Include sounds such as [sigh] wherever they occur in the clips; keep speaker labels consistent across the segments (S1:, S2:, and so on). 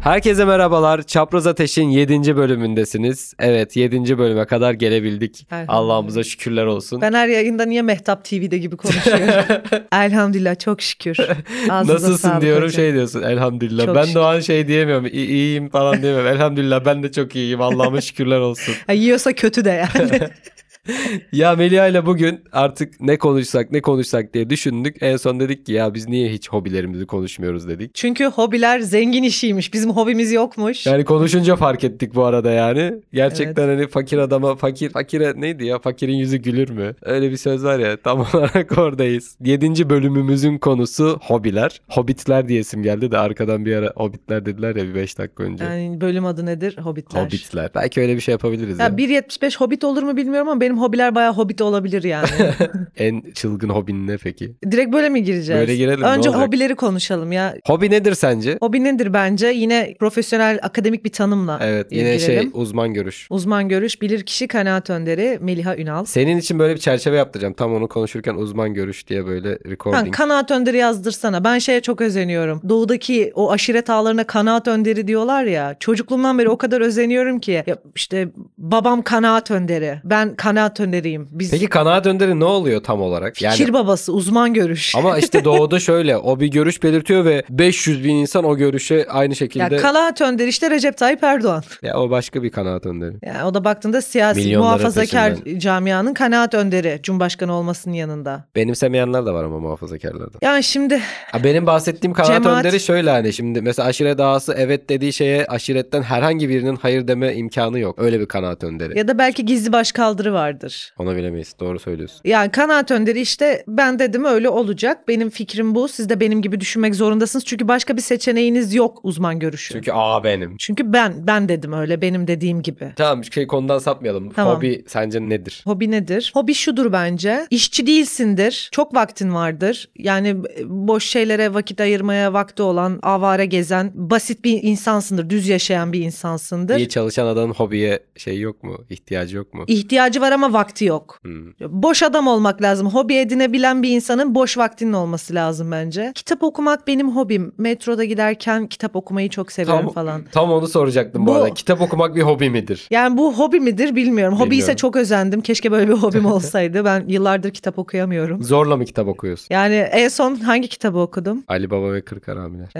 S1: Herkese merhabalar. Çapraz Ateş'in 7. bölümündesiniz. Evet 7. bölüme kadar gelebildik.
S2: Elhamdülillah.
S1: Allah'ımıza şükürler olsun.
S2: Ben her yayında niye Mehtap TV'de gibi konuşuyorum?
S1: [laughs]
S2: Elhamdülillah çok şükür. Ağzınıza
S1: Nasılsın
S2: sağlık
S1: diyorum
S2: hocam.
S1: şey diyorsun elhamdülillah.
S2: Çok
S1: ben
S2: şükür.
S1: de o an şey diyemiyorum "İ- iyiyim falan diyemiyorum. elhamdülillah ben de çok iyiyim Allah'ıma şükürler olsun. [laughs]
S2: Ha, yiyorsa kötü de yani.
S1: Ya Melia ile bugün artık ne konuşsak ne konuşsak diye düşündük. En son dedik ki ya biz niye hiç hobilerimizi konuşmuyoruz dedik.
S2: Çünkü hobiler zengin işiymiş. Bizim hobimiz yokmuş.
S1: Yani konuşunca fark ettik bu arada yani. Gerçekten hani fakir adama fakir fakire neydi ya fakirin yüzü gülür mü? Öyle bir söz var ya tam [laughs] olarak oradayız. Yedinci bölümümüzün konusu hobiler. Hobbitler diye isim geldi de arkadan bir ara hobbitler dediler ya bir 5 dakika önce.
S2: Yani bölüm adı nedir? Hobbitler.
S1: Hobbitler. Belki öyle bir şey yapabiliriz.
S2: Ya
S1: ya.
S2: 1.75 hobbit olur mu bilmiyorum ama benim hobiler bayağı hobbit olabilir yani.
S1: [laughs] En çılgın hobin ne peki?
S2: Direkt böyle mi gireceğiz?
S1: Böyle girelim, ne
S2: Önce
S1: olacak?
S2: hobileri konuşalım ya.
S1: Hobi nedir sence?
S2: Hobi nedir bence? Yine profesyonel akademik bir tanımla.
S1: Evet yine şey
S2: girelim.
S1: uzman görüş.
S2: Uzman görüş bilirkişi kanaat önderi Meliha Ünal.
S1: Senin için böyle bir çerçeve yaptıracağım. Tam onu konuşurken uzman görüş diye böyle
S2: Kan,
S1: recording.
S2: kanaat önderi yazdırsana. Ben şeye çok özeniyorum. Doğudaki o aşiret ağlarına kanaat önderi diyorlar ya. Çocukluğumdan beri o kadar özeniyorum ki. Ya işte babam kanaat önderi. Ben kanaat önderiyim. Biz
S1: Peki kanaat önderi ne oluyor tam olarak?
S2: fikir babası, uzman görüş.
S1: Ama işte doğuda şöyle o bir görüş belirtiyor ve 500 bin insan o görüşe aynı
S2: ya
S1: şekilde ya,
S2: kanaat önderi işte Recep Tayyip Erdoğan.
S1: o başka bir kanaat önderi.
S2: Ya o da baktığında siyasi
S1: Milyonların
S2: muhafazakar camianın kanaat önderi Cumhurbaşkanı olmasının yanında.
S1: Benimsemeyenler de var ama muhafazakarlarda.
S2: Yani şimdi
S1: Ha, benim bahsettiğim kanaat
S2: Cemaat-
S1: önderi şöyle hani şimdi mesela aşiret ağası evet dediği şeye aşiretten herhangi birinin hayır deme imkanı yok. Öyle bir kanaat önderi.
S2: ya da belki gizli başkaldırı vardır.
S1: Ona bilemeyiz. Doğru söylüyorsun.
S2: Yani kanaat önderi işte ben dedim öyle olacak. Benim fikrim bu. Siz de benim gibi düşünmek zorundasınız. Çünkü başka bir seçeneğiniz yok uzman görüşü. Çünkü,
S1: Çünkü aa benim.
S2: ben ben dedim öyle benim dediğim gibi.
S1: Tamam şey konudan sapmayalım.
S2: Tamam.
S1: Hobi sence nedir?
S2: Hobi nedir? Hobi şudur bence. İşçi değilsindir. Çok vaktin vardır. Yani e, boş şeylere vakit ayırmaya vakti olan, avare gezen, basit bir insansındır. Düz yaşayan bir insansındır.
S1: İyi çalışan adamın hobiye şey yok mu? İhtiyacı yok mu?
S2: İhtiyacı var ama vakti yok.
S1: Hmm.
S2: Boş adam olmak lazım. Hobi edinebilen bir insanın boş vaktinin olması lazım bence. Kitap okumak benim hobim. Metroda giderken kitap okumayı çok seviyorum
S1: Tam,
S2: falan.
S1: tam onu soracaktım bu
S2: Bu-
S1: arada. Kitap okumak bir hobi midir?
S2: Yani bu hobi midir bilmiyorum. Hobi ise
S1: Bilmiyorum.
S2: çok özendim. Keşke böyle bir
S1: [laughs]
S2: hobim olsaydı. Ben yıllardır kitap okuyamıyorum.
S1: Zorla mı kitap okuyorsun?
S2: Yani en son hangi
S1: [laughs]
S2: kitabı okudum? [laughs]
S1: Ali Baba ve Kırk Haramiler.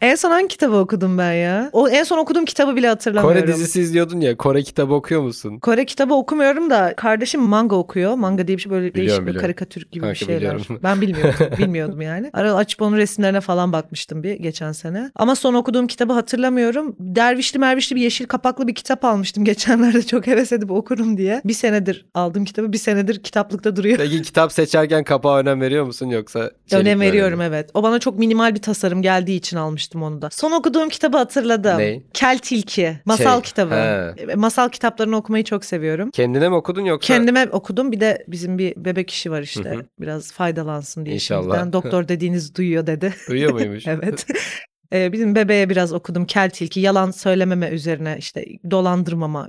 S2: en son hangi kitabı okudum ben ya? O en son okuduğum kitabı bile hatırlamıyorum.
S1: Kore dizisi izliyordun ya. Kore kitabı okuyor musun?
S2: Kore kitabı okumuyorum da kardeşim manga okuyor. Manga diye bir şey böyle değişik bir
S1: biliyorum.
S2: karikatür gibi
S1: Kanka
S2: bir şeyler.
S1: biliyorum. [laughs]
S2: Ben bilmiyordum. bilmiyordum yani. Ara açıp onun resimlerine falan bakmıştım bir geçen sene. Ama son okuduğum kitabı hatırlamıyorum. Dervişli mervişli bir yeşil kapaklı bir kitap almıştım geçenlerde [laughs] çok heves edip okurum diye. Bir senedir aldığım kitabı bir senedir kitaplıkta duruyor.
S1: Peki kitap seçerken kapağa önem veriyor musun yoksa? çelik
S2: Önem
S1: mi
S2: veriyorum evet. O bana çok minimal bir tasarım geldiği için almıştım onu da. Son okuduğum kitabı hatırladım.
S1: Ne?
S2: Kel Tilki. Masal
S1: Şey,
S2: kitabı.
S1: he.
S2: E, Masal kitaplarını okumayı çok seviyorum.
S1: Kendine mi okudun yoksa?
S2: Kendime okudum. Bir de bizim bir bebek işi var işte.
S1: Hı hı.
S2: Biraz faydalansın diye.
S1: İnşallah. [laughs]
S2: şimdiden. doktor dediğiniz duyuyor dedi. [laughs]
S1: Duyuyor muymuş?
S2: evet. Ee, bizim bebeğe biraz okudum kel tilki yalan söylememe üzerine işte dolandırmama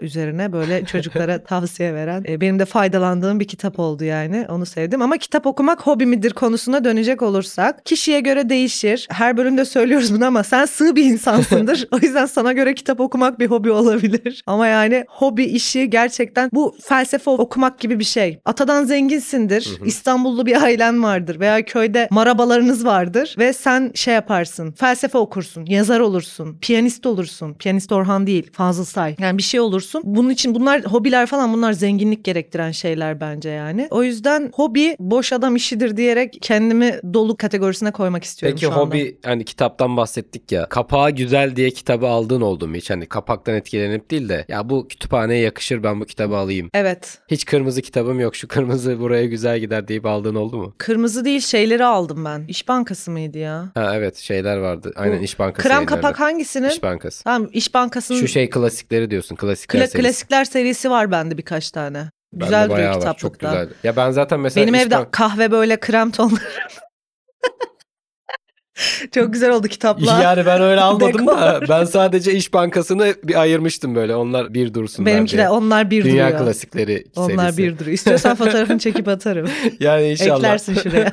S1: [laughs]
S2: üzerine böyle çocuklara tavsiye veren e, benim de faydalandığım bir kitap oldu yani onu sevdim ama kitap okumak hobi midir konusuna dönecek olursak kişiye göre değişir her bölümde söylüyoruz bunu ama sen sığ bir
S1: [laughs]
S2: insansındır o yüzden sana göre kitap okumak bir hobi olabilir ama yani hobi işi gerçekten bu felsefe okumak gibi bir şey atadan zenginsindir
S1: Hı hı.
S2: İstanbullu bir ailen vardır veya köyde marabalarınız vardır ve sen şey yaparsın felsefe okursun yazar olursun piyanist olursun piyanist Orhan değil Fazıl Say yani bir şey olursun bunun için bunlar hobiler falan bunlar zenginlik gerektiren şeyler bence yani o yüzden hobi boş adam işidir diyerek kendimi dolu kategorisine koymak istiyorum
S1: Peki
S2: şu anda.
S1: hobi hani kitaptan bahsettik ya. Kapağı güzel diye kitabı aldın oldu mu hiç? Hani kapaktan etkilenip değil de ya bu kütüphaneye yakışır ben bu kitabı alayım.
S2: Evet
S1: Hiç kırmızı kitabım yok şu kırmızı buraya güzel gider deyip aldığın oldu mu?
S2: kırmızı değil şeyleri aldım ben İş Bankası mıydı ya?
S1: Ha evet şeyler vardı. Aynen
S2: Bu
S1: İş Bankası.
S2: Krem
S1: yayınlarında.
S2: kapak hangisinin?
S1: İş Bankası.
S2: Tamam İş Bankası'nın
S1: Şu şey klasikleri diyorsun. Klasikler
S2: Kla-
S1: serisi.
S2: klasikler serisi var bende birkaç tane.
S1: Bende
S2: Güzel duruyor
S1: bayağı var, Çok
S2: kitaplıkta.
S1: güzel. Ya ben zaten mesela
S2: Benim
S1: iş
S2: evde
S1: bank-
S2: kahve böyle krem tonları. [laughs] çok güzel oldu kitaplar.
S1: [laughs]
S2: [laughs]
S1: Yani ben öyle almadım da
S2: Dekor.
S1: ben sadece İş Bankası'nı bir ayırmıştım böyle. Onlar bir dursunlar diye.
S2: Benimkiler onlar bir
S1: Dünya
S2: duruyor.
S1: klasikleri
S2: Onlar
S1: serisi. [laughs]
S2: bir duruyor. İstiyorsan fotoğrafını çekip atarım.
S1: Yani inşallah.
S2: Eklersin şuraya.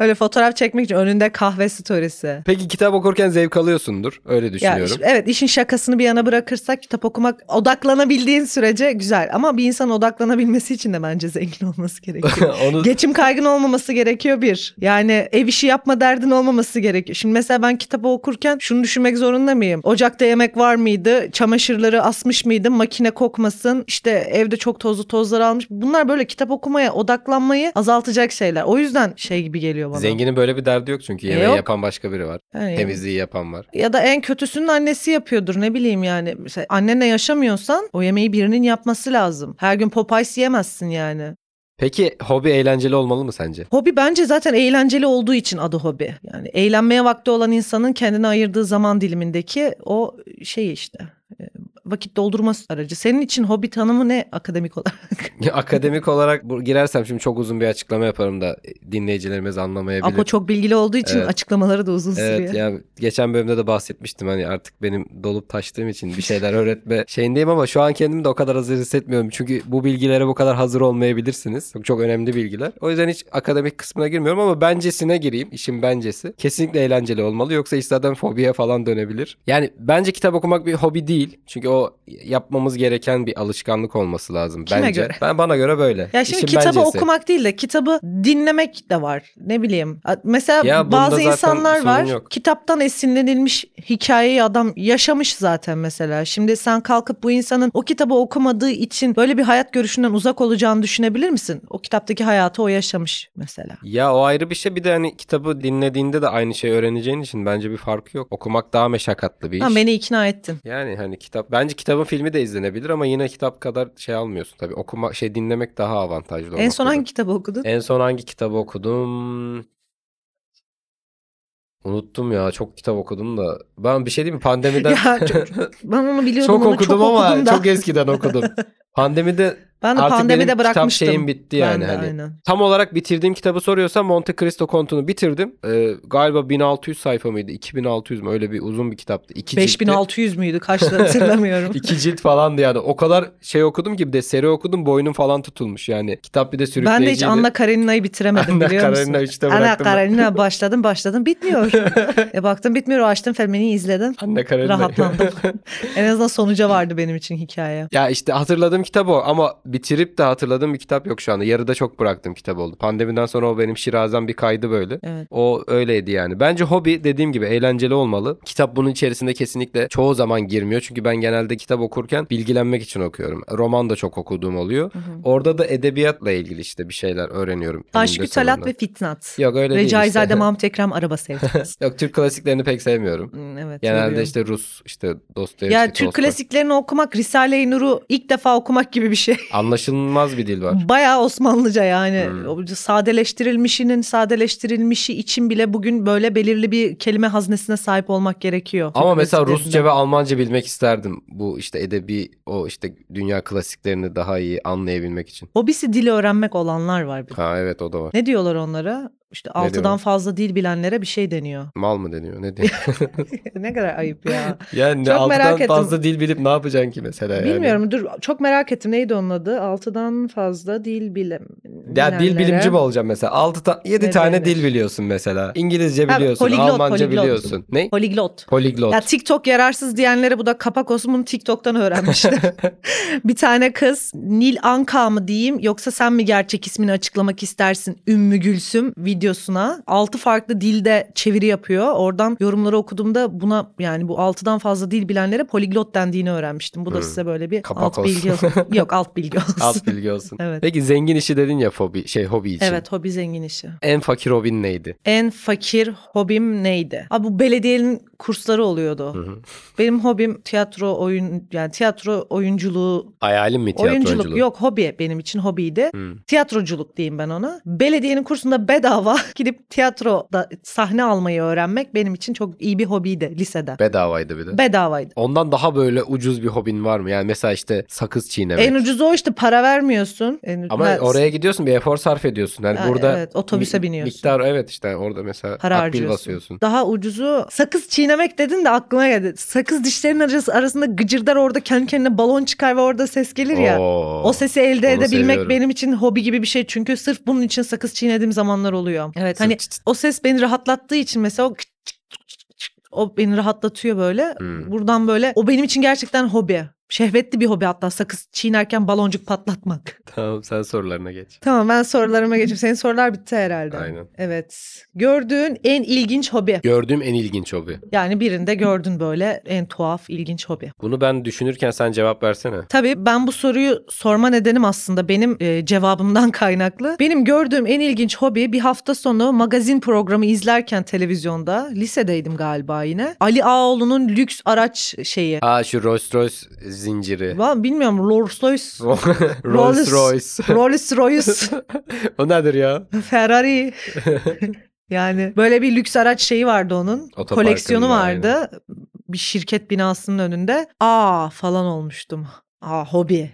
S2: Öyle fotoğraf çekmek için önünde kahve storiesi.
S1: Peki kitap okurken zevk alıyorsundur. Öyle
S2: Ya
S1: düşünüyorum. [laughs]
S2: iş- evet işin şakasını bir yana bırakırsak kitap okumak odaklanabildiğin sürece güzel. Ama bir insan odaklanabilmesi için de bence zengin olması gerekiyor.
S1: Onu
S2: Geçim kaygın olmaması gerekiyor bir. Yani ev işi yapma derdin olmaması gerekiyor. Şimdi mesela ben kitabı okurken şunu düşünmek zorunda mıyım? Ocakta yemek var mıydı? Çamaşırları asmış mıydım? Makine kokmasın. İşte evde çok tozlu tozlar almış. Bunlar böyle kitap okumaya odaklanmayı azaltacak şeyler. O yüzden şey gibi geliyor bana. E,
S1: zenginin böyle bir derdi yok çünkü. Yemeği
S2: Yok. E.
S1: yapan başka biri var.
S2: Yani-
S1: Temizliği yapan var.
S2: Ya da en kötüsünün annesi yapıyordur ne bileyim yani. Mesela annenle yaşamıyorsan o yemeği birinin yapması lazım. Her gün Popeyes yiyemezsin yani.
S1: Peki hobi eğlenceli olmalı mı sence? [laughs]
S2: Hobi bence zaten eğlenceli olduğu için adı hobi. Yani eğlenmeye vakti olan insanın kendine ayırdığı zaman dilimindeki o şey işte e, vakit doldurma aracı. Senin için hobi tanımı ne akademik olarak?
S1: Akademik olarak bu- girersem şimdi çok uzun bir açıklama yaparım da dinleyicilerimiz anlamayabilir.
S2: Apo çok bilgili olduğu için
S1: Evet.
S2: açıklamaları da uzun sürüyor.
S1: Evet yani geçen bölümde de bahsetmiştim hani artık benim dolup taştığım için bir şeyler
S2: [laughs]
S1: öğretme şeyindeyim ama şu an kendimi de o kadar hazır hissetmiyorum. Çünkü bu bilgilere bu kadar hazır olmayabilirsiniz. Çok, çok önemli bilgiler. O yüzden hiç akademik kısmına girmiyorum ama bencesine gireyim. İşin bencesi. Kesinlikle eğlenceli olmalı yoksa iş zaten fobiye falan dönebilir. Yani bence kitap okumak bir hobi değil. Çünkü o yapmamız gereken bir alışkanlık olması lazım
S2: Kime
S1: bence.
S2: göre?
S1: Ben bana göre böyle.
S2: Ya şimdi
S1: İşin
S2: kitabı
S1: bencesi.
S2: okumak değil de kitabı dinlemek de var. Ne bileyim. A- Mesela
S1: Ya bunda
S2: bazı
S1: zaten
S2: insanlar
S1: sorun
S2: var.
S1: yok.
S2: Kitaptan esinlenilmiş hikayeyi adam yaşamış zaten mesela. Şimdi sen kalkıp bu insanın o kitabı okumadığı için böyle bir hayat görüşünden uzak olacağını düşünebilir misin? O kitaptaki hayatı o yaşamış mesela.
S1: Ya o ayrı bir şey bir de hani kitabı dinlediğinde de aynı şeyi öğreneceğin için bence bir farkı yok. Okumak daha meşakkatli bir iş.
S2: Ha, beni ikna ettin.
S1: Yani hani kitap bence kitabın filmi de izlenebilir ama yine kitap kadar şey almıyorsun tabii. Okuma şey dinlemek daha avantajlı. o
S2: en son
S1: noktada.
S2: hangi kitabı okudun?
S1: En son hangi kitabı okudum? Unuttum ya çok kitap okudum da. Ben bir şey diyeyim mi pandemiden
S2: [laughs] Ya çok- ben onu biliyordum.
S1: çok
S2: onu
S1: okudum ama
S2: okudum da.
S1: çok eskiden
S2: [laughs]
S1: okudum. Pandemide
S2: ben de
S1: artık
S2: pandemide
S1: benim kitap
S2: bırakmıştım.
S1: şeyim bitti
S2: Ben
S1: yani
S2: de,
S1: hani.
S2: aynen.
S1: Tam olarak bitirdiğim kitabı soruyorsa Monte Cristo Kontu'nu bitirdim. Ee, galiba 1600 sayfa mıydı? 2600 mü? Öyle bir uzun bir kitaptı. İki ciltti.
S2: 5600 müydü? Kaçtı hatırlamıyorum.
S1: [laughs] İki cilt falandı yani. O kadar şey okudum ki bir de seri okudum. Boynum falan tutulmuş yani. Kitap bir de sürükleyiciydi.
S2: Ben de hiç Anna Karenina'yı bitiremedim
S1: Anna
S2: biliyor
S1: Karenina
S2: musun?
S1: üçte
S2: Anna
S1: bıraktım ben.
S2: Karenina başladım başladım bitmiyor.
S1: [laughs]
S2: e baktım bitmiyor açtım filmini izledim.
S1: Anna Karenina.
S2: Rahatlandım.
S1: [laughs]
S2: en azından sonuca vardı benim için hikaye.
S1: ya işte hatırladığım kitap o ama bitirip de hatırladığım bir kitap yok şu anda. Yarıda çok bıraktığım kitap oldu. Pandemiden sonra o benim şirazem bir kaydı böyle.
S2: Evet.
S1: O öyleydi yani. Bence hobi dediğim gibi eğlenceli olmalı. Kitap bunun içerisinde kesinlikle çoğu zaman girmiyor. Çünkü ben genelde kitap okurken bilgilenmek için okuyorum. Roman da çok okuduğum oluyor. Orada da edebiyatla ilgili işte bir şeyler öğreniyorum.
S2: Aşkü
S1: Eninde
S2: Talat
S1: sonunda.
S2: ve Fitnat.
S1: Yok öyle değil
S2: Recaizade
S1: işte.
S2: Mahmut Ekrem araba sevdiniz.
S1: [laughs]
S2: Hmm,
S1: Yok Türk klasiklerini pek sevmiyorum.
S2: evet.
S1: Genelde
S2: seviyorum.
S1: işte şey Rus, işte Dostoyevski,
S2: Ya Türk
S1: Tolstoy.
S2: klasiklerini okumak Risale-i Nur'u ilk defa okumak gibi bir şey.
S1: Anlaşılmaz bir dil var.
S2: Bayağı Osmanlıca yani.
S1: Hmm.
S2: O Sadeleştirilmişinin sadeleştirilmişi için bile bugün böyle belirli bir kelime haznesine sahip olmak gerekiyor.
S1: Ama
S2: Türk
S1: mesela
S2: klasiklerinde.
S1: Rusça ve Almanca bilmek isterdim. Bu işte edebi, o işte dünya klasiklerini daha iyi anlayabilmek için.
S2: Hobisi dili öğrenmek olanlar var bir de.
S1: Ha evet o da var.
S2: Ne diyorlar onlara? İşte altıdan
S1: diyorlar?
S2: fazla dil bilenlere bir şey deniyor. [laughs]
S1: Mal mı deniyor? Ne deniyor?
S2: ne kadar ayıp ya.
S1: [laughs] Yani
S2: Çok
S1: altıdan
S2: merak ettim.
S1: fazla dil bilip ne yapacaksın ki mesela yani?
S2: Bilmiyorum dur çok merak ettim neydi onun adı? Altıdan fazla dil bilen.
S1: Ya dil bilimci mi olacağım mesela? 6 ta 7
S2: Ne
S1: tane
S2: denir?
S1: dil biliyorsun mesela. İngilizce
S2: Ha,
S1: biliyorsun,
S2: poliglot,
S1: Almanca
S2: poliglot.
S1: biliyorsun. Ne?
S2: Poliglot.
S1: Poliglot.
S2: Ya TikTok yararsız diyenlere bu da kapak olsun bunu TikTok'tan öğrenmiştim. bir tane kız Nil Anka mı diyeyim yoksa sen mi gerçek ismini açıklamak istersin Ümmü Gülsüm videosuna. Altı farklı dilde çeviri yapıyor. Oradan yorumları okuduğumda buna yani bu altıdan fazla dil bilenlere poliglot dendiğini öğrenmiştim. Bu da
S1: Hmm.
S2: size böyle bir
S1: Kapak
S2: alt
S1: olsun.
S2: bilgi olsun. Yok alt bilgi olsun.
S1: Alt bilgi olsun.
S2: [laughs] Evet.
S1: Peki zengin işi dedin ya fobi, şey hobi için.
S2: Evet hobi zengin işi.
S1: En fakir hobin neydi?
S2: En fakir hobim neydi? Abi bu belediyenin kursları oluyordu.
S1: Hı hı.
S2: Benim hobim tiyatro oyun yani tiyatro oyunculuğu
S1: Hayalin mi tiyatro
S2: oyunculuk
S1: oyunculuğu?
S2: yok hobi benim için hobiydi.
S1: Hı.
S2: Tiyatroculuk diyeyim ben ona. Belediyenin kursunda bedava [laughs] gidip tiyatroda sahne almayı öğrenmek benim için çok iyi bir hobiydi liseden.
S1: Bedavaydı bir de.
S2: Bedavaydı.
S1: Ondan daha böyle ucuz bir hobin var mı? Yani mesela işte sakız çiğnemek.
S2: En ucuzu o işte para vermiyorsun. En-
S1: Ama
S2: ben-
S1: oraya gidiyorsun bir efor sarf ediyorsun. Yani
S2: Ha,
S1: burada
S2: evet, otobüse
S1: mi-
S2: biniyorsun.
S1: Miktar evet işte orada mesela
S2: para
S1: akbil
S2: harcıyorsun.
S1: basıyorsun.
S2: Daha ucuzu sakız çiğnemek dedin de aklıma geldi. Sakız dişlerin arası, arasında gıcırdar orada kendi kendine balon çıkar ve orada ses gelir ya.
S1: Oo.
S2: O sesi elde
S1: onu
S2: edebilmek
S1: seviyorum.
S2: benim için hobi gibi bir şey. Çünkü sırf bunun için sakız çiğnediğim zamanlar oluyor. Evet
S1: Sırf
S2: hani
S1: çıt-
S2: o ses beni rahatlattığı için mesela o o beni rahatlatıyor böyle.
S1: Hmm.
S2: Buradan böyle o benim için gerçekten hobi. Şehvetli bir hobi hatta sakız çiğnerken
S1: [laughs]
S2: baloncuk patlatmak.
S1: Tamam sen sorularına geç.
S2: Tamam ben sorularıma geçeyim. Senin sorular bitti herhalde.
S1: Aynen.
S2: Evet. Gördüğün en ilginç hobi.
S1: Gördüğüm en ilginç hobi.
S2: Yani birinde gördün böyle en tuhaf ilginç hobi.
S1: Bunu ben düşünürken sen cevap versene.
S2: Tabii ben bu soruyu sorma nedenim aslında benim e, cevabımdan [laughs] kaynaklı. Benim gördüğüm en ilginç hobi bir hafta sonu magazin programı izlerken televizyonda lisedeydim galiba yine. Ali Ağaoğlu'nun lüks araç şeyi.
S1: Aa şu Rolls Royce zinciri.
S2: Va- Bilmiyorum Rolls Royce,
S1: [laughs] Rolls Royce. [laughs]
S2: Rolls Royce,
S1: o nedir ya?
S2: Ferrari. [laughs] Yani böyle bir lüks araç şeyi vardı onun.
S1: Otoparkın
S2: Koleksiyonu
S1: da
S2: vardı. Bir şirket binasının önünde. Aa falan olmuştum. Aa hobi.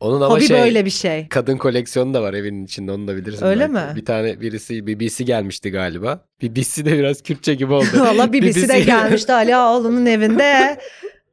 S1: Onun ama
S2: hobi
S1: şey
S2: böyle bir şey.
S1: kadın koleksiyonu da var evinin içinde onu da bilirsin.
S2: Öyle
S1: belki.
S2: mi?
S1: Bir tane birisi BBC gelmişti galiba. BBC de biraz Kürtçe gibi
S2: [laughs]
S1: oldu.
S2: [laughs] Valla BBC de
S1: BBC [laughs]
S2: gelmişti Ali Ağaoğlu'nun evinde.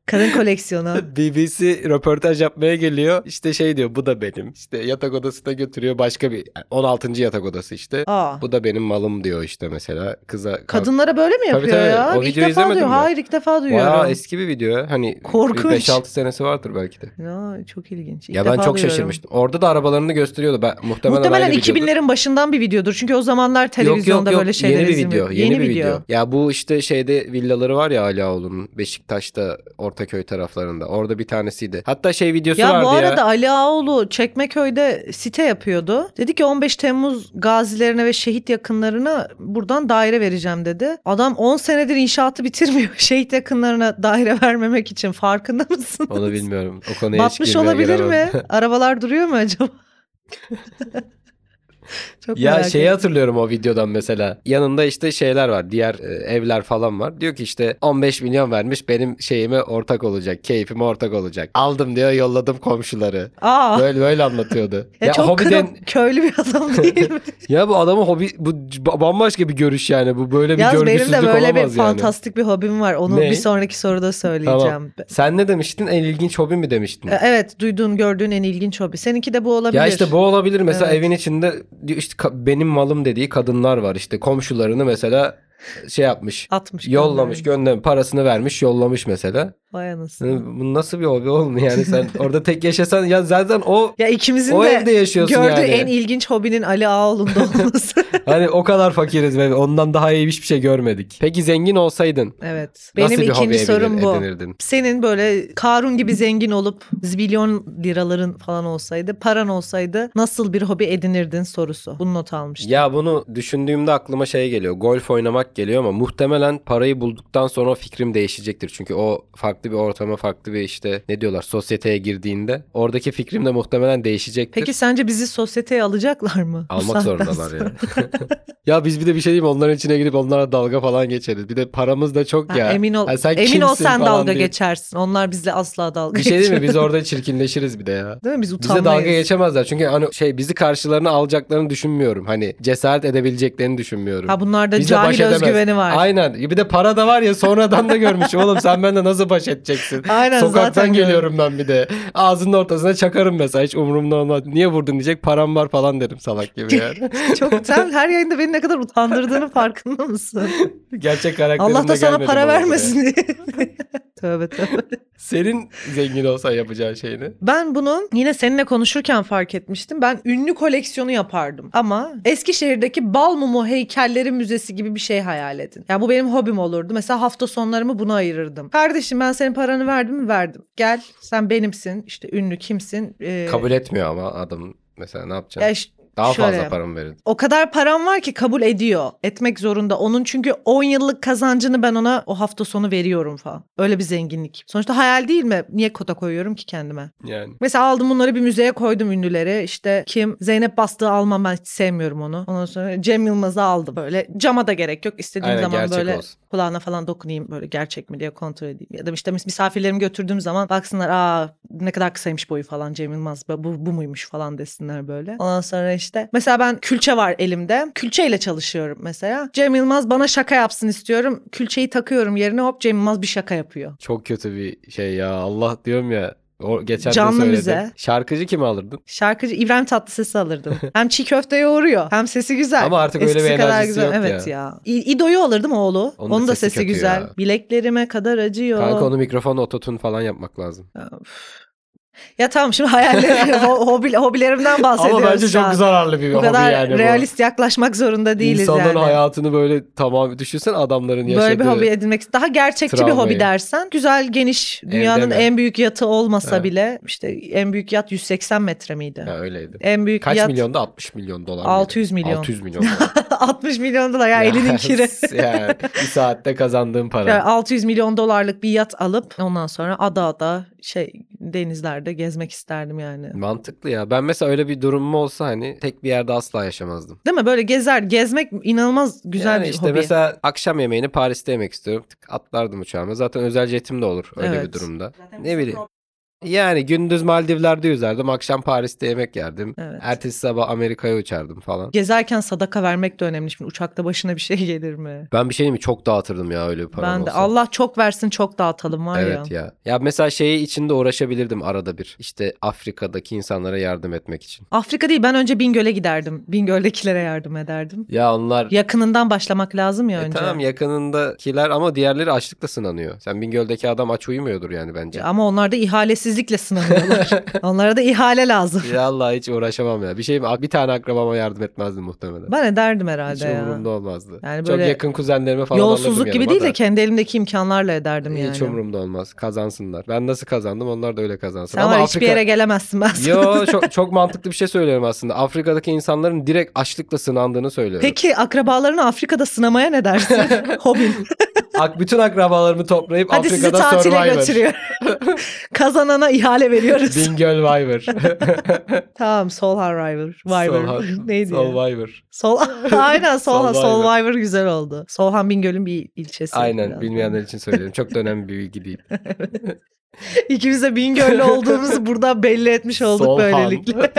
S2: Kadın koleksiyonu.
S1: BBC röportaj yapmaya geliyor. İşte şey diyor bu da benim. İşte yatak odasına götürüyor başka bir 16. yatak odası işte.
S2: Aa.
S1: Bu da benim malım diyor işte mesela. Kıza
S2: Kadınlara böyle mi
S1: Tabii,
S2: yapıyor
S1: tabii.
S2: ya?
S1: O
S2: ilk
S1: videoyu
S2: defa
S1: izlemedin
S2: duyuyorum.
S1: mi?
S2: Hayır ilk defa duyuyorum.
S1: Bayağı eski bir video. Hani bir
S2: Korkunç.
S1: 5-6 senesi vardır belki de.
S2: Ya, çok ilginç. İlk
S1: ya ben
S2: defa
S1: çok
S2: duyuyorum.
S1: şaşırmıştım. Orada da arabalarını gösteriyordu. Ben muhtemelen,
S2: Muhtemelen
S1: aynı videodur.
S2: 2000'lerin başından bir videodur. Çünkü o zamanlar televizyonda
S1: yok, yok,
S2: böyle
S1: yok.
S2: şeyler
S1: yeni bir
S2: izleniyor.
S1: video. Yeni, bir video. Ya bu işte şeyde villaları var ya Alaoğlu'nun Beşiktaş'ta Ortaköy taraflarında. Orada bir tanesiydi. Hatta şey videosu
S2: Ya
S1: vardı
S2: bu arada
S1: ya.
S2: Ali Ağaoğlu Çekmeköy'de site yapıyordu. Dedi ki 15 Temmuz gazilerine ve şehit yakınlarına buradan daire vereceğim dedi. Adam 10 senedir inşaatı bitirmiyor. [laughs] Şehit yakınlarına daire vermemek için farkında mısın?
S1: Onu bilmiyorum. O konuya hiç
S2: Batmış
S1: girmeye
S2: olabilir
S1: [laughs]
S2: mi?
S1: giremem.
S2: Arabalar duruyor
S1: [laughs]
S2: mu acaba? Çok
S1: Ya şey
S2: merak
S1: şeyi
S2: ettim.
S1: hatırlıyorum o videodan mesela. Yanında işte şeyler var. Diğer e, evler falan var. Diyor ki işte 15 milyon vermiş benim şeyime ortak olacak. Keyfime ortak olacak. Aldım diyor yolladım komşuları.
S2: Aa,
S1: Böyle böyle anlatıyordu.
S2: Ah. [laughs] ya çok
S1: hobiden-
S2: kırım, köylü bir
S1: [laughs]
S2: adam değil mi?
S1: Ya bu adamın hobi bu c- bambaşka bir görüş yani. Bu böyle bir
S2: Yalnız benim
S1: görgüsüzlük
S2: de böyle bir
S1: olamaz yani.
S2: fantastik bir hobim var. Onu
S1: Ne?
S2: bir sonraki soruda söyleyeceğim.
S1: Sen ne demiştin? En ilginç hobi mi demiştin?
S2: E, Evet duyduğun gördüğün en ilginç hobi. Seninki de bu olabilir.
S1: ya işte bu olabilir mesela
S2: Evet.
S1: evin içinde diyor işte ka- benim malım dediği kadınlar var işte komşularını mesela şey yapmış.
S2: 60
S1: yollamış,
S2: göndermiş.
S1: göndermiş, parasını vermiş, yollamış mesela.
S2: Vay
S1: Hı,
S2: anasını.
S1: Bu nasıl bir hobi oğlum yani sen orada tek yaşasan ya zaten o
S2: Ya ikimizin
S1: o evde
S2: de
S1: yaşıyorsun
S2: gördüğü
S1: yani.
S2: en ilginç hobinin Ali Ağaoğlu'nda
S1: [laughs]
S2: olması.
S1: Hani o kadar fakiriz ve ondan daha iyi hiçbir şey görmedik. Peki zengin olsaydın
S2: evet. Benim
S1: nasıl bir hobi
S2: ikinci
S1: edinir-
S2: sorum bu.
S1: edinirdin?
S2: Senin böyle Karun gibi zengin olup zibilyon liraların falan olsaydı, paran olsaydı nasıl bir hobi edinirdin sorusu. Bunu not almıştım.
S1: Ya bunu düşündüğümde aklıma şey geliyor. Golf oynamak geliyor ama muhtemelen parayı bulduktan sonra o fikrim değişecektir. Çünkü o farklı bir ortama, farklı bir işte ne diyorlar sosyeteye girdiğinde oradaki fikrim de muhtemelen değişecektir.
S2: Peki sence bizi sosyeteye alacaklar mı? bu
S1: Almak
S2: saatten
S1: zorundalar
S2: sonra?
S1: ya. [laughs] ya biz bir de bir şey diyeyim mi? onların içine girip onlara dalga falan geçeriz. Bir de paramız da çok
S2: Ha,
S1: ya.
S2: emin ol,
S1: Ha, sen
S2: emin
S1: kimsin
S2: ol sen
S1: falan
S2: dalga
S1: diye.
S2: geçersin. Onlar bizle asla dalga
S1: Bir şey değil mi?
S2: geçemez.
S1: Biz orada çirkinleşiriz bir de ya.
S2: Değil mi? Biz
S1: Bize
S2: utanmayız.
S1: dalga geçemezler. Çünkü hani şey bizi karşılarına alacaklarını düşünmüyorum. Hani cesaret edebileceklerini düşünmüyorum.
S2: Ha bunlarda
S1: Bizle baş
S2: cahil
S1: edemez.
S2: özgüveni var.
S1: Aynen. Bir de para da var ya sonradan da görmüş. Oğlum sen benimle nasıl baş edeceksin?
S2: Aynen, zaten
S1: Sokaktan
S2: görüyorum.
S1: geliyorum ben bir de. Ağzının ortasına çakarım mesela hiç umurumda olmaz. Niye vurdun diyecek param var falan derim salak
S2: [laughs]
S1: gibi yani.
S2: [laughs] Çok sen her yayında beni ne kadar
S1: [laughs]
S2: utandırdığının farkında mısın?
S1: Gerçek karakterim
S2: Allah da
S1: de
S2: sana
S1: gelmedi
S2: para
S1: bu arada.
S2: vermesin diye.
S1: [laughs]
S2: tövbe tövbe.
S1: Senin zengin olsan yapacağın şey ne?
S2: Ben bunu yine seninle konuşurken fark etmiştim. Ben ünlü koleksiyonu yapardım. Ama Eskişehir'deki Balmumu Heykelleri Müzesi gibi bir şey hayal edin. Ya bu benim hobim olurdu. Mesela hafta sonlarımı buna ayırırdım. Kardeşim ben senin paranı verdim mi? Verdim. Gel sen benimsin. İşte ünlü kimsin? Ee,
S1: Kabul etmiyor ama adam mesela ne yapacaksın?
S2: ya işte
S1: Daha
S2: şöyle
S1: fazla
S2: yap.
S1: paramı verin.
S2: o kadar param var ki kabul ediyor. Etmek zorunda. Onun çünkü 10 yıllık kazancını ben ona o hafta sonu veriyorum falan. Öyle bir zenginlik. Sonuçta hayal değil mi? Niye kota koyuyorum ki kendime?
S1: Yani.
S2: Mesela aldım bunları bir müzeye koydum ünlüleri. İşte kim? Zeynep Bastığı almam ben hiç sevmiyorum onu. Ondan sonra Cem Yılmaz'ı aldım. Böyle cama da gerek yok. İstediğim
S1: Aynen,
S2: zaman
S1: gerçek
S2: böyle
S1: olsun.
S2: kulağına falan dokunayım böyle gerçek mi diye kontrol edeyim. Ya da işte mis- misafirlerimi götürdüğüm zaman baksınlar aa ne kadar kısaymış boyu falan Cem Yılmaz bu, bu muymuş falan desinler böyle. Ondan sonra işte mesela ben külçe var elimde. Külçeyle çalışıyorum mesela. Cem Yılmaz bana şaka yapsın istiyorum. Külçeyi takıyorum yerine hop Cem Yılmaz bir şaka yapıyor.
S1: Çok kötü bir şey ya. Allah diyorum ya. O geçen
S2: Canlı
S1: de söyledim.
S2: müze.
S1: Şarkıcı kimi alırdın?
S2: Şarkıcı İbrahim
S1: [laughs]
S2: Tatlıses'i alırdım. hem çiğ köfte yoğuruyor hem sesi güzel.
S1: Ama artık öyle
S2: Eskisi
S1: bir
S2: kadar
S1: enerjisi
S2: güzel.
S1: yok
S2: evet ya. İ- İdo'yu alırdım oğlu. Onun, da sesi,
S1: kötü
S2: güzel.
S1: ya.
S2: Bileklerime kadar acıyor.
S1: Kanka onu mikrofon ototun falan yapmak lazım.
S2: Ya tamam
S1: [laughs]
S2: şimdi hayallerim, ho- hobi- hobilerimden bahsediyoruz
S1: Ama bence
S2: şu an.
S1: çok zararlı bir
S2: Bu
S1: hobi
S2: kadar
S1: yani bu.
S2: realist yaklaşmak zorunda değiliz
S1: İnsanların
S2: yani.
S1: hayatını böyle tamam düşünsen adamların yaşadığı.
S2: Böyle bir hobi edinmek daha gerçekçi bir hobi
S1: travmayı.
S2: dersen güzel geniş dünyanın
S1: mi?
S2: en büyük yatı olmasa
S1: Evet.
S2: bile işte en büyük yat 180 metre miydi?
S1: Ya öyleydi.
S2: En büyük
S1: Kaç
S2: yat [laughs]
S1: milyonda? 60 milyon dolar. mıydı?
S2: 600 milyon.
S1: 600 milyon dolar.
S2: 60 milyon dolar
S1: [laughs]
S2: ya elinin kiri.
S1: yani bir saatte kazandığın para.
S2: Yani 600 milyon dolarlık bir yat alıp ondan sonra ada ada şey denizlerde gezmek isterdim yani.
S1: Mantıklı ya. Ben mesela öyle bir durumum olsa hani tek bir yerde asla yaşamazdım.
S2: Değil mi? Böyle gezer gezmek inanılmaz güzel
S1: yani
S2: bir
S1: işte
S2: hobi.
S1: mesela akşam yemeğini Paris'te yemek istiyorum. Tık atlardım uçağıma. Zaten özel jetim de olur öyle
S2: Evet.
S1: bir durumda. Ne bileyim. Yani gündüz Maldivler'de yüzerdim. Akşam Paris'te yemek yerdim.
S2: Evet.
S1: Ertesi sabah Amerika'ya uçardım falan.
S2: Gezerken sadaka vermek de önemli. Şimdi uçakta başına bir şey [laughs] gelir mi?
S1: Ben bir şey diyeyim mi? Çok dağıtırdım ya öyle bir param
S2: ben de
S1: olsa.
S2: Allah çok versin çok dağıtalım var ya.
S1: Evet ya. Ya mesela şeyi içinde uğraşabilirdim arada bir. İşte Afrika'daki insanlara yardım etmek için.
S2: Afrika değil ben önce Bingöl'e giderdim. Bingöl'dekilere yardım ederdim.
S1: Ya onlar
S2: Yakınından başlamak lazım ya
S1: E
S2: önce.
S1: tamam yakınındakiler ama diğerleri açlıkla sınanıyor. Sen Bingöl'deki adam aç uyumuyordur yani bence.
S2: Ama onlar da ihalesizlikle sınanıyorlar. Onlara da ihale lazım.
S1: [laughs] Vallahi hiç uğraşamam ya. Bir şey bir tane akrabama yardım etmezdim muhtemelen.
S2: Ben ederdim herhalde
S1: hiç
S2: ya.
S1: umurumda olmazdı.
S2: Yani
S1: Çok
S2: böyle
S1: yakın kuzenlerime falan alırdım
S2: Yolsuzluk gibi
S1: yanıma
S2: değil de
S1: da.
S2: kendi elimdeki imkanlarla ederdim yani.
S1: Hiç umurumda olmaz. Kazansınlar. Ben nasıl kazandım onlar da öyle kazansın.
S2: Sen
S1: ama
S2: var ya,
S1: Afrika...
S2: hiçbir
S1: [laughs]
S2: yere gelemezsin ben sana.
S1: Yo çok, çok mantıklı bir şey söylüyorum aslında. Afrika'daki insanların direkt açlıkla sınandığını söylüyorum.
S2: Peki akrabalarını Afrika'da sınamaya ne dersin?
S1: [laughs]
S2: Hobin.
S1: Ak- bütün akrabalarımı toplayıp
S2: Hadi sizi
S1: Afrika'da
S2: tatile
S1: Survivor.
S2: götürüyor. [laughs] Kazanana ihale veriyoruz.
S1: Bingöl
S2: [laughs]
S1: Viver.
S2: tamam Soul Rival. Viver.
S1: Sol-
S2: [laughs] Neydi ya?
S1: Survivor.
S2: Sol [laughs] Aynen
S1: Solvayver.
S2: Solhan Solvayver güzel oldu. Solhan Bingöl'ün bir ilçesi.
S1: Aynen
S2: biraz.
S1: bilmeyenler için söyleyelim. Çok da önemli bir bilgi değil.
S2: [laughs] İkimiz de Bingöl'lü olduğumuzu burada belli etmiş olduk
S1: Solhan.
S2: böylelikle.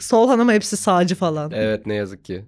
S2: Solhan ama hepsi sağcı falan.
S1: evet ne yazık
S2: [laughs]
S1: ki.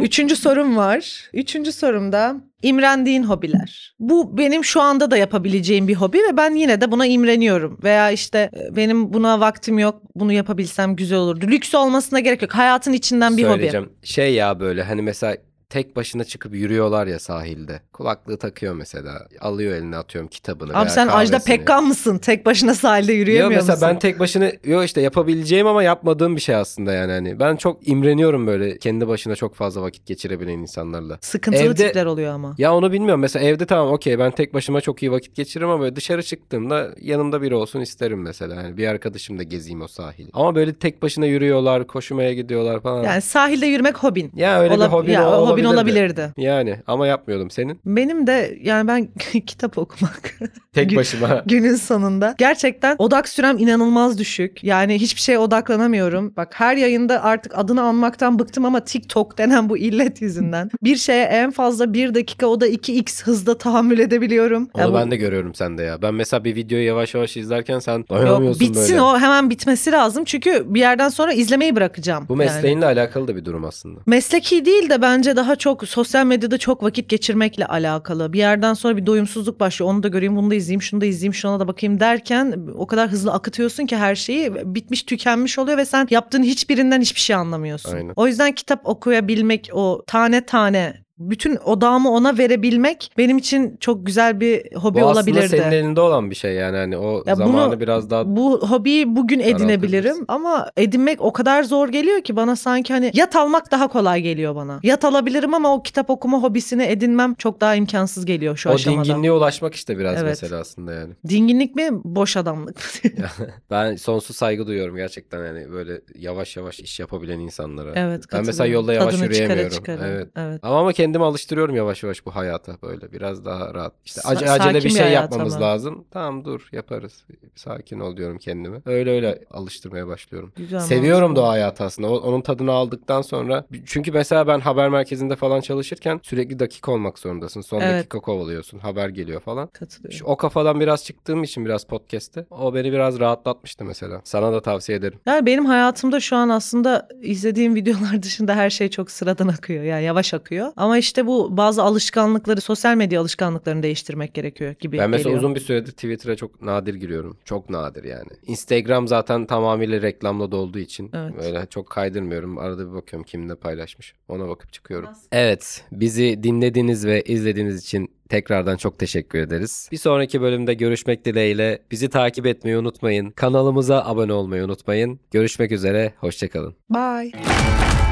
S2: Üçüncü sorum var. Üçüncü sorumda imrendiğin hobiler. Bu benim şu anda da yapabileceğim bir hobi ve ben yine de buna imreniyorum. Veya işte e, benim buna vaktim yok bunu yapabilsem güzel olurdu. Lüks olmasına gerek yok. Hayatın içinden bir hobi.
S1: Söyleyeceğim. Şey ya böyle hani mesela tek başına çıkıp yürüyorlar ya sahilde. Kulaklığı takıyor mesela. Alıyor eline atıyorum kitabını
S2: Abi
S1: veya
S2: sen Ajda
S1: kahvesini.
S2: Pekkan mısın? Tek başına sahilde
S1: Yo
S2: yürüyemiyor
S1: mesela
S2: musun?
S1: ben tek başına yo işte yapabileceğim ama yapmadığım bir şey aslında yani hani ben çok imreniyorum böyle kendi başına çok fazla vakit geçirebilen insanlarla.
S2: Sıkıntılı
S1: Evde-
S2: tipler oluyor ama.
S1: Ya onu bilmiyorum mesela evde tamam okey ben tek başıma çok iyi vakit geçiririm ama böyle dışarı çıktığımda yanımda biri olsun isterim mesela. Yani bir arkadaşım da gezeyim o sahili. Ama böyle tek başına yürüyorlar, koşmaya gidiyorlar falan.
S2: Yani sahilde yürümek hobin.
S1: ya öyle
S2: Ola-
S1: bir hobin,
S2: ya,
S1: ol-
S2: hobin
S1: olabilirdi.
S2: olabilirdi.
S1: Yani ama yapmıyordum senin.
S2: Benim de yani ben [laughs] kitap okumak [laughs] Gü-
S1: Tek başıma.
S2: günün sonunda. Gerçekten odak sürem inanılmaz düşük. Yani hiçbir şeye odaklanamıyorum. Bak her yayında artık adını anmaktan bıktım ama TikTok denen bu
S1: [laughs]
S2: illet yüzünden. Bir şeye en fazla bir dakika o da 2x hızda tahammül edebiliyorum.
S1: Onu
S2: Ya bu-
S1: ben de görüyorum sende ya. Ben mesela bir videoyu yavaş yavaş izlerken sen
S2: Yok,
S1: dayanamıyorsun
S2: bitsin
S1: böyle.
S2: o hemen bitmesi lazım çünkü bir yerden sonra izlemeyi bırakacağım.
S1: Bu
S2: yani.
S1: mesleğinle alakalı da bir durum aslında.
S2: Mesleki değil de bence daha çok sosyal medyada çok vakit geçirmekle alakalı. Bir yerden sonra bir doyumsuzluk başlıyor. Onu da göreyim, bunu da izleyeyim, şunu da izleyeyim, şuna da bakayım derken o kadar hızlı akıtıyorsun ki her şeyi bitmiş, tükenmiş oluyor ve sen yaptığın hiçbirinden hiçbir şey anlamıyorsun.
S1: Aynen.
S2: O yüzden kitap okuyabilmek, o tane tane bütün odağımı ona verebilmek benim için çok güzel bir
S1: Bu
S2: hobi
S1: aslında
S2: olabilirdi.
S1: senin elinde olan bir şey yani hani o
S2: Ya bunu-
S1: zamanı biraz daha
S2: Bu hobiyi bugün edinebilirim ama edinmek o kadar zor geliyor ki bana sanki hani yat almak daha kolay geliyor bana. Yat alabilirim ama o kitap okuma hobisini edinmem çok daha imkansız geliyor şu
S1: o
S2: aşamada.
S1: dinginliğe ulaşmak işte biraz
S2: Evet.
S1: mesela aslında yani.
S2: Dinginlik mi? Boş adamlık
S1: [laughs]
S2: mı?
S1: Ben sonsuz saygı duyuyorum gerçekten yani böyle yavaş yavaş iş yapabilen insanlara.
S2: evet.
S1: ben mesela
S2: katılıyorum.
S1: yolda yavaş
S2: Tadını çıkara
S1: yürüyemiyorum.
S2: çıkara.
S1: Evet.
S2: evet.
S1: Ama ama kendimi alıştırıyorum yavaş yavaş bu hayata böyle biraz daha rahat. İşte
S2: Sa-
S1: ace- acele
S2: sakin
S1: bir
S2: bir
S1: şey
S2: hayat
S1: yapmamız
S2: ama.
S1: lazım. Tamam dur yaparız. Sakin ol diyorum kendime. Öyle öyle alıştırmaya başlıyorum.
S2: Güzel
S1: Seviyorum
S2: mantıklı.
S1: da o hayatı aslında. O- Onun tadını aldıktan sonra. Çünkü mesela ben haber merkezinde falan çalışırken sürekli dakika olmak zorundasın. Son
S2: Evet.
S1: dakika kovalıyorsun. Haber geliyor falan.
S2: Katılıyorum.
S1: Şu- O kafadan biraz çıktığım için biraz podcast'te. O beni biraz rahatlatmıştı mesela. Sana da tavsiye ederim.
S2: Yani benim hayatımda şu an aslında izlediğim videolar [laughs] dışında her şey çok sıradan akıyor. Yani yavaş akıyor. Ama işte bu bazı alışkanlıkları, sosyal medya alışkanlıklarını değiştirmek gerekiyor gibi
S1: Ben mesela
S2: geliyor.
S1: uzun bir süredir Twitter'a çok nadir giriyorum. Çok nadir yani. Instagram zaten tamamıyla reklamla dolduğu için
S2: Evet.
S1: böyle çok kaydırmıyorum. Arada bir bakıyorum kim ne paylaşmış. Ona bakıp çıkıyorum. Evet, bizi dinlediğiniz ve izlediğiniz için tekrardan çok teşekkür ederiz. Bir sonraki bölümde görüşmek dileğiyle. Bizi takip etmeyi unutmayın. Kanalımıza abone olmayı unutmayın. Görüşmek üzere, hoşçakalın.
S2: Bye.